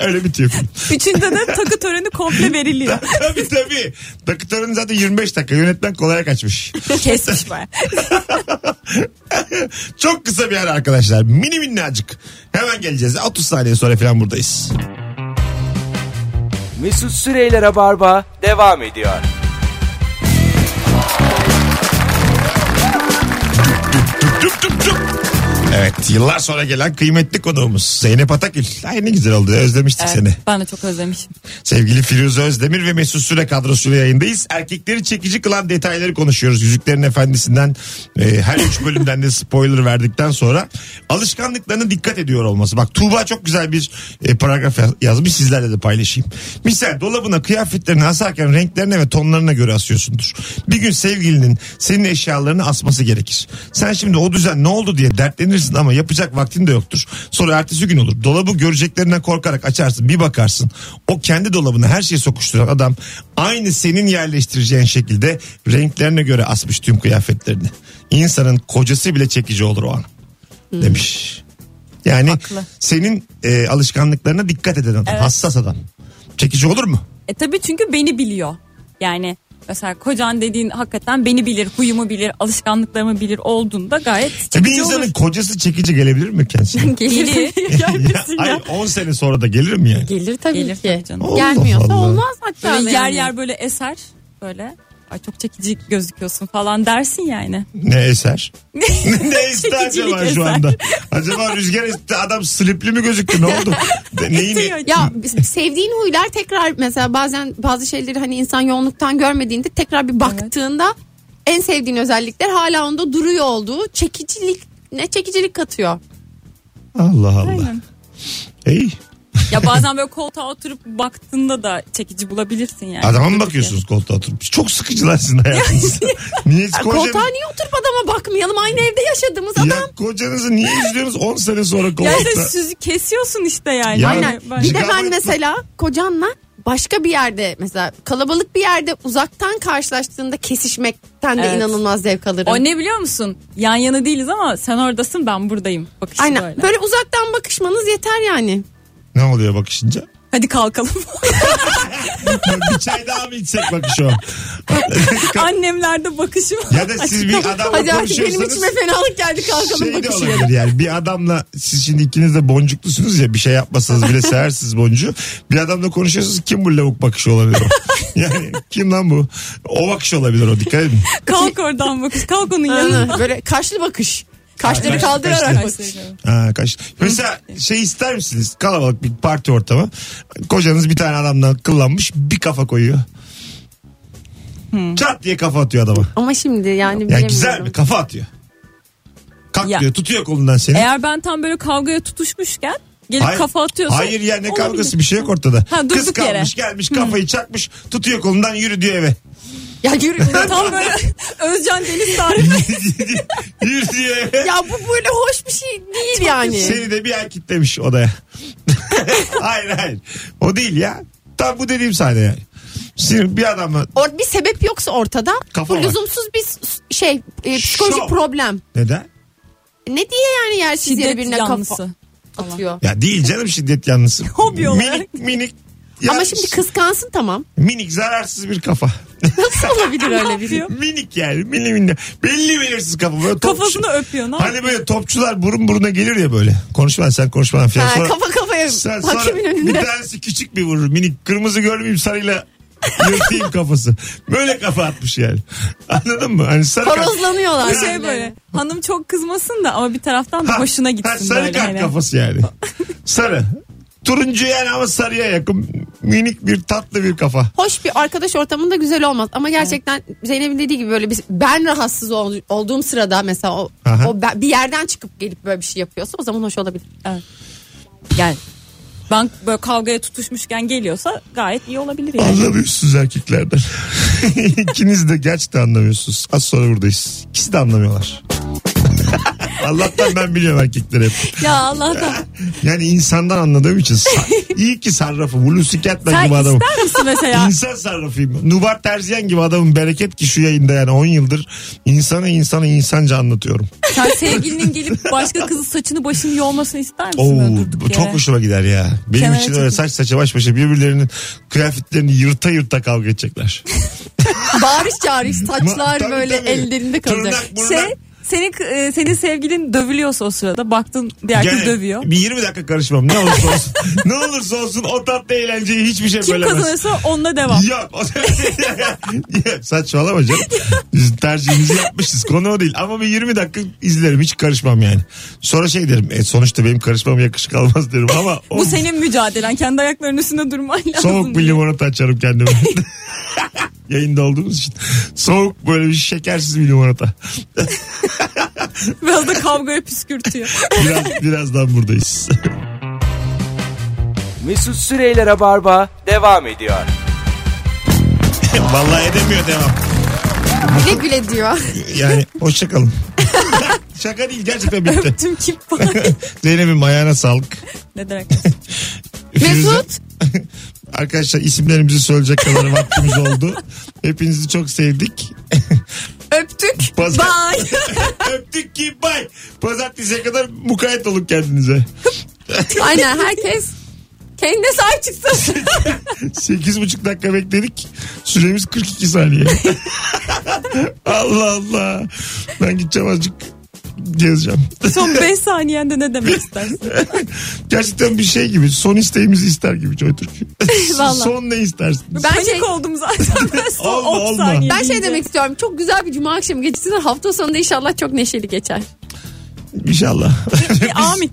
B: Öyle bitiyor film.
C: Üçünde de takı töreni
B: [LAUGHS]
C: komple veriliyor.
B: tabii tabii. Dakikatörün zaten 25 dakika. Yönetmen kolaya kaçmış.
C: Kesmiş baya.
B: Çok kısa bir ara arkadaşlar. Mini minnacık. Hemen geleceğiz. 30 saniye sonra falan buradayız.
A: Mesut Süreyler'e barba devam ediyor.
B: Tüp tüp tüp. Evet yıllar sonra gelen kıymetli konuğumuz Zeynep Atakül. Ay ne güzel oldu özlemiştik seni.
C: Ben de çok özlemişim.
B: Sevgili Firuze Özdemir ve Mesut Süre kadrosuyla yayındayız. Erkekleri çekici kılan detayları konuşuyoruz. Yüzüklerin Efendisi'nden e, her üç bölümden de spoiler verdikten sonra alışkanlıklarına dikkat ediyor olması. Bak Tuğba çok güzel bir e, paragraf yaz- yazmış sizlerle de paylaşayım. Misal dolabına kıyafetlerini asarken renklerine ve tonlarına göre asıyorsundur. Bir gün sevgilinin senin eşyalarını asması gerekir. Sen şimdi o düzen ne oldu diye dertlenirsin ama yapacak vaktin de yoktur. Sonra ertesi gün olur. Dolabı göreceklerinden korkarak açarsın bir bakarsın. O kendi dolabına her şeyi sokuşturan adam aynı senin yerleştireceğin şekilde renklerine göre asmış tüm kıyafetlerini. İnsanın kocası bile çekici olur o an demiş. Yani
C: Hmm. Haklı.
B: senin e, alışkanlıklarına dikkat eden adam, hassas adam. Çekici olur mu?
C: E tabii çünkü beni biliyor. Yani mesela kocan dediğin hakikaten beni bilir, huyumu bilir, alışkanlıklarımı bilir olduğunda gayet
B: E, bir
C: çekici
B: insanın [LAUGHS]
C: olur.
B: kocası çekici gelebilir mi kendisine?
C: Gelir.
B: [LAUGHS] Ya, hayır 10 sene sonra da gelir mi yani?
D: Gelir tabii
C: Gelir
D: ki.
C: tabii canım.
B: Allah
D: Gelmiyorsa
B: Allah.
D: olmaz hatta.
C: Böyle yer
D: yani.
C: yer böyle eser böyle ay çok çekici gözüküyorsun falan dersin yani.
B: Ne eser? [LAUGHS] ne esti
C: Çekicilik
B: acaba şu
C: eser.
B: anda? Acaba rüzgar esti adam slipli mi gözüktü ne oldu? De- Neyini?
C: Diyor,
D: Ya sevdiğin huylar tekrar mesela bazen bazı şeyleri hani insan yoğunluktan görmediğinde tekrar bir baktığında en sevdiğin özellikler hala onda duruyor olduğu çekicilik ne çekicilik katıyor.
B: Allah Allah.
C: Aynen.
B: Ey,
C: Ya [LAUGHS] bazen böyle koltuğa oturup baktığında da çekici bulabilirsin yani.
B: adama mı bakıyorsunuz koltuğa oturup? Çok sıkıcılar sizin hayatınız. [LAUGHS] niye hiç kocanız,
D: Koltuğa niye oturup adama bakmayalım aynı evde yaşadığımız adam.
B: ya, kocanızı niye izliyorsunuz 10 sene sonra
C: Yani
B: koltukta?
C: siz kesiyorsun işte yani.
B: Ya-
C: Aynen.
B: Aynen.
C: Ben-
D: Bir de
B: Çıkar
D: ben
B: mı?
D: mesela kocanla başka bir yerde mesela kalabalık bir yerde uzaktan karşılaştığında kesişmekten de
C: Evet.
D: inanılmaz zevk alırım.
C: O ne biliyor musun? Yan yana değiliz ama sen oradasın ben buradayım. Bakışı
D: Aynen.
C: böyle.
D: Böyle. uzaktan bakışmanız yeter yani.
B: Ne oluyor bakışınca?
C: Hadi kalkalım.
B: bir çay daha mı içsek bakış
D: [LAUGHS]
B: o?
C: [LAUGHS] Annemlerde bakışım.
B: Ya da siz bir adamla
D: Hadi artık benim
B: konuşuyorsanız
D: içime fenalık geldi kalkalım
B: şey de
D: bakışıyor.
B: olabilir yani bir adamla siz şimdi ikiniz de boncuklusunuz ya bir şey yapmasanız bile seversiniz boncuğu. Bir adamla konuşuyorsunuz kim bu lavuk bakışı olabilir o? yani kim lan bu? O bakış olabilir o dikkat edin.
C: [LAUGHS] Kalk oradan bakış. Kalk onun yanına.
D: Aynen. Böyle kaşlı bakış. Kaşları
B: Kaş-
D: kaldırarak
B: kaşlı.
D: bakış.
B: Ha, kaç. Mesela şey ister misiniz kalabalık bir parti ortamı kocanız bir tane adamdan kıllanmış bir kafa koyuyor. Çat diye kafa atıyor adama.
D: Ama şimdi yani
B: Ya
D: bilemiyorum.
B: güzel mi? Kafa atıyor. Kalk
C: Ya.
B: diyor tutuyor kolundan seni.
C: Eğer ben tam böyle kavgaya tutuşmuşken gelip
B: Hayır-
C: kafa atıyorsan.
B: Hayır ya ne
C: olabilir.
B: kavgası bir şey yok ortada.
C: Ha, durduk
B: Kız kalmış
C: yere.
B: gelmiş kafayı çakmış tutuyor kolundan yürü diyor
C: [LAUGHS]
B: eve.
D: Ya yürü.
C: Tam böyle [LAUGHS] Özcan Deniz tarifi.
B: yürü diyor eve.
D: ya bu böyle hoş bir şey değil yani.
B: Seni de bir ay kilitlemiş odaya. [LAUGHS] hayır hayır. O değil ya. Tam bu dediğim sahne yani. Şimdi bir adamla
D: Or bir sebep yoksa ortada
B: Kafa
D: bu
B: var.
D: lüzumsuz bir s- şey e, psikolojik
B: Şov.
D: problem.
B: neden?
D: Ne diye yani yersiz yere
C: Şiddet
D: birine
C: yanlısı.
D: kafa atıyor.
B: Ya değil canım şiddet yanlısı.
C: [LAUGHS] Hobi olarak.
B: minik minik. ya
D: Ama şimdi kıskansın tamam.
B: Minik zararsız bir
C: [LAUGHS]
B: kafa.
D: Nasıl olabilir öyle bir şey?
C: Öpüyor.
B: [LAUGHS] minik yani mini mini. Belli belirsiz kafa. Böyle topçu-
C: [LAUGHS] Kafasını öpüyor. Ne
B: Hani böyle topçular burun buruna gelir ya böyle. Konuşma sen konuşma [LAUGHS] falan.
D: şey. Ha,
B: Sonra-
D: kafa kafaya
B: Sen sonra
D: hakemin
B: bir
D: önünde.
B: tanesi küçük bir vurur. Minik kırmızı görmeyeyim sarıyla yırtayım kafası. Böyle kafa atmış yani. Anladın mı? Hani sarı kart-
D: Horozlanıyorlar.
C: Bir şey böyle. Hanım çok kızmasın da ama bir taraftan da
B: Ha,
C: hoşuna
B: ha,
C: gitsin
B: sarı
C: böyle.
B: kart
C: hani.
B: kafası yani. sarı. Turuncu yani ama sarıya yakın. Minik bir tatlı bir kafa.
D: Hoş bir arkadaş ortamında güzel olmaz. Ama gerçekten Zeynep'in dediği gibi böyle bir, ben rahatsız ol- olduğum sırada mesela o,
B: Aha.
D: o ben- bir yerden çıkıp gelip böyle bir şey yapıyorsa o zaman hoş olabilir.
C: Yani ben böyle kavgaya tutuşmuşken geliyorsa gayet iyi olabilir yani.
B: Anlamıyorsunuz erkeklerden. [LAUGHS] İkiniz de gerçekten anlamıyorsunuz. Az sonra buradayız. İkisi de anlamıyorlar. [LAUGHS] Allah'tan ben biliyorum erkekleri hep.
C: ya Allah'tan.
B: Yani insandan anladığım için sa- iyi ki sarrafım. Hulusi Ketmen
C: Sen
B: gibi adamım.
C: ister misin
B: [LAUGHS]
C: mesela?
B: İnsan sarrafıyım. Nubar Terziyen gibi adamın bereket ki şu yayında yani 10 yıldır insana insana insanca
C: [LAUGHS]
B: anlatıyorum.
C: Sen sevgilinin gelip başka kızın saçını başını yolmasını ister misin?
B: Oo,
C: böyle durduk
B: çok
C: yere?
B: hoşuma gider ya. Benim
C: Kenara
B: için öyle
C: çekil.
B: saç saça baş başa birbirlerinin kıyafetlerini yırta yırta kavga edecekler.
D: Bağırış çağırış
B: Ma-
D: taçlar
B: tabii,
D: böyle
B: tabii.
D: ellerinde kalacak.
B: Tırnak, burnak.
C: Şey, senin, e, senin sevgilin dövülüyorsa o sırada baktın diğer
B: Gene
C: kız dövüyor.
B: Bir 20 dakika karışmam. Ne olursa olsun. [LAUGHS] ne olursa olsun o tatlı eğlenceyi hiçbir şey
C: Kim
B: bölemez.
C: kazanırsa onunla devam.
B: Yok. O [LAUGHS] Ya, Saçmalama canım. Biz tercihimizi yapmışız. Konu o değil. Ama bir 20 dakika izlerim. Hiç karışmam yani. Sonra şey derim. E, sonuçta benim karışmam yakışık almaz derim. Ama o
C: [LAUGHS] Bu senin mücadelen. Kendi ayaklarının üstünde durman lazım.
B: soğuk bir
C: diye.
B: limonata açarım kendime. [LAUGHS] Yayında olduğumuz için. Soğuk böyle bir şekersiz bir limonata.
C: Biraz da
B: [LAUGHS]
C: kavgaya püskürtüyor.
B: Biraz, birazdan buradayız.
A: Mesut Süreyler'e barba devam ediyor.
B: [LAUGHS] Vallahi edemiyor devam.
D: Güle
C: [LAUGHS]
D: güle diyor.
B: Yani hoşçakalın. Şaka değil gerçekten bitti.
C: Öptüm kim
B: Zeynep'in ayağına sağlık.
C: Ne demek?
D: Mesut.
B: [LAUGHS] Arkadaşlar isimlerimizi söyleyecek kadar vaktimiz oldu. Hepinizi çok sevdik. [LAUGHS]
D: Öptük.
B: Pazar-
D: Bye.
B: Öptük ki bay. Pazartesiye kadar mukayyet olun
D: [LAUGHS]
B: kendinize.
D: [LAUGHS] Aynen herkes kendine sahip çıksın.
B: 8,5 dakika bekledik. Süremiz 42 saniye. [LAUGHS] Allah Allah. Ben gideceğim azıcık gezeceğim.
C: [LAUGHS] Son 5 saniyende ne demek istersin?
B: [LAUGHS] Gerçekten bir şey gibi. Son isteğimizi ister gibi Joy Türk.
D: [LAUGHS] Vallahi.
B: Son ne istersin?
D: Ben
C: Panik
D: şey-
B: [LAUGHS]
C: oldum zaten. Ben son
B: Olma,
C: 10
B: olma.
C: saniye
D: Ben şey
C: deyince.
D: demek istiyorum. Çok güzel bir cuma akşamı gecesi. Hafta sonunda inşallah çok neşeli geçer.
B: İnşallah. [LAUGHS]
C: Amin.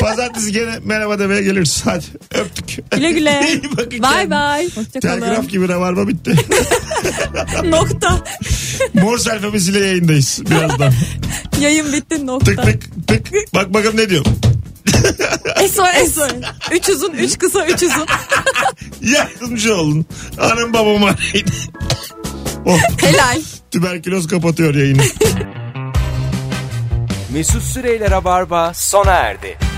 B: Pazartesi gene merhaba demeye geliriz. Hadi öptük.
C: Güle
B: [LAUGHS]
C: güle.
B: İyi bakın
D: Bye
B: kendinize.
D: bye.
B: Telgraf
C: Hoşçakalın.
B: gibi rabarba bitti. [LAUGHS]
C: Nokta.
B: Mor alfabesiyle yayındayız birazdan.
C: Yayın bitti
B: Tık
C: nokta.
B: tık tık. Bak bakalım ne diyor.
C: SOS. Üç uzun, üç kısa, üç uzun.
B: Yardımcı olun. Anam babam arayın. oh,
D: Helal.
B: tüberküloz kapatıyor yayını.
A: Mesut Süreyler'e barba sona erdi.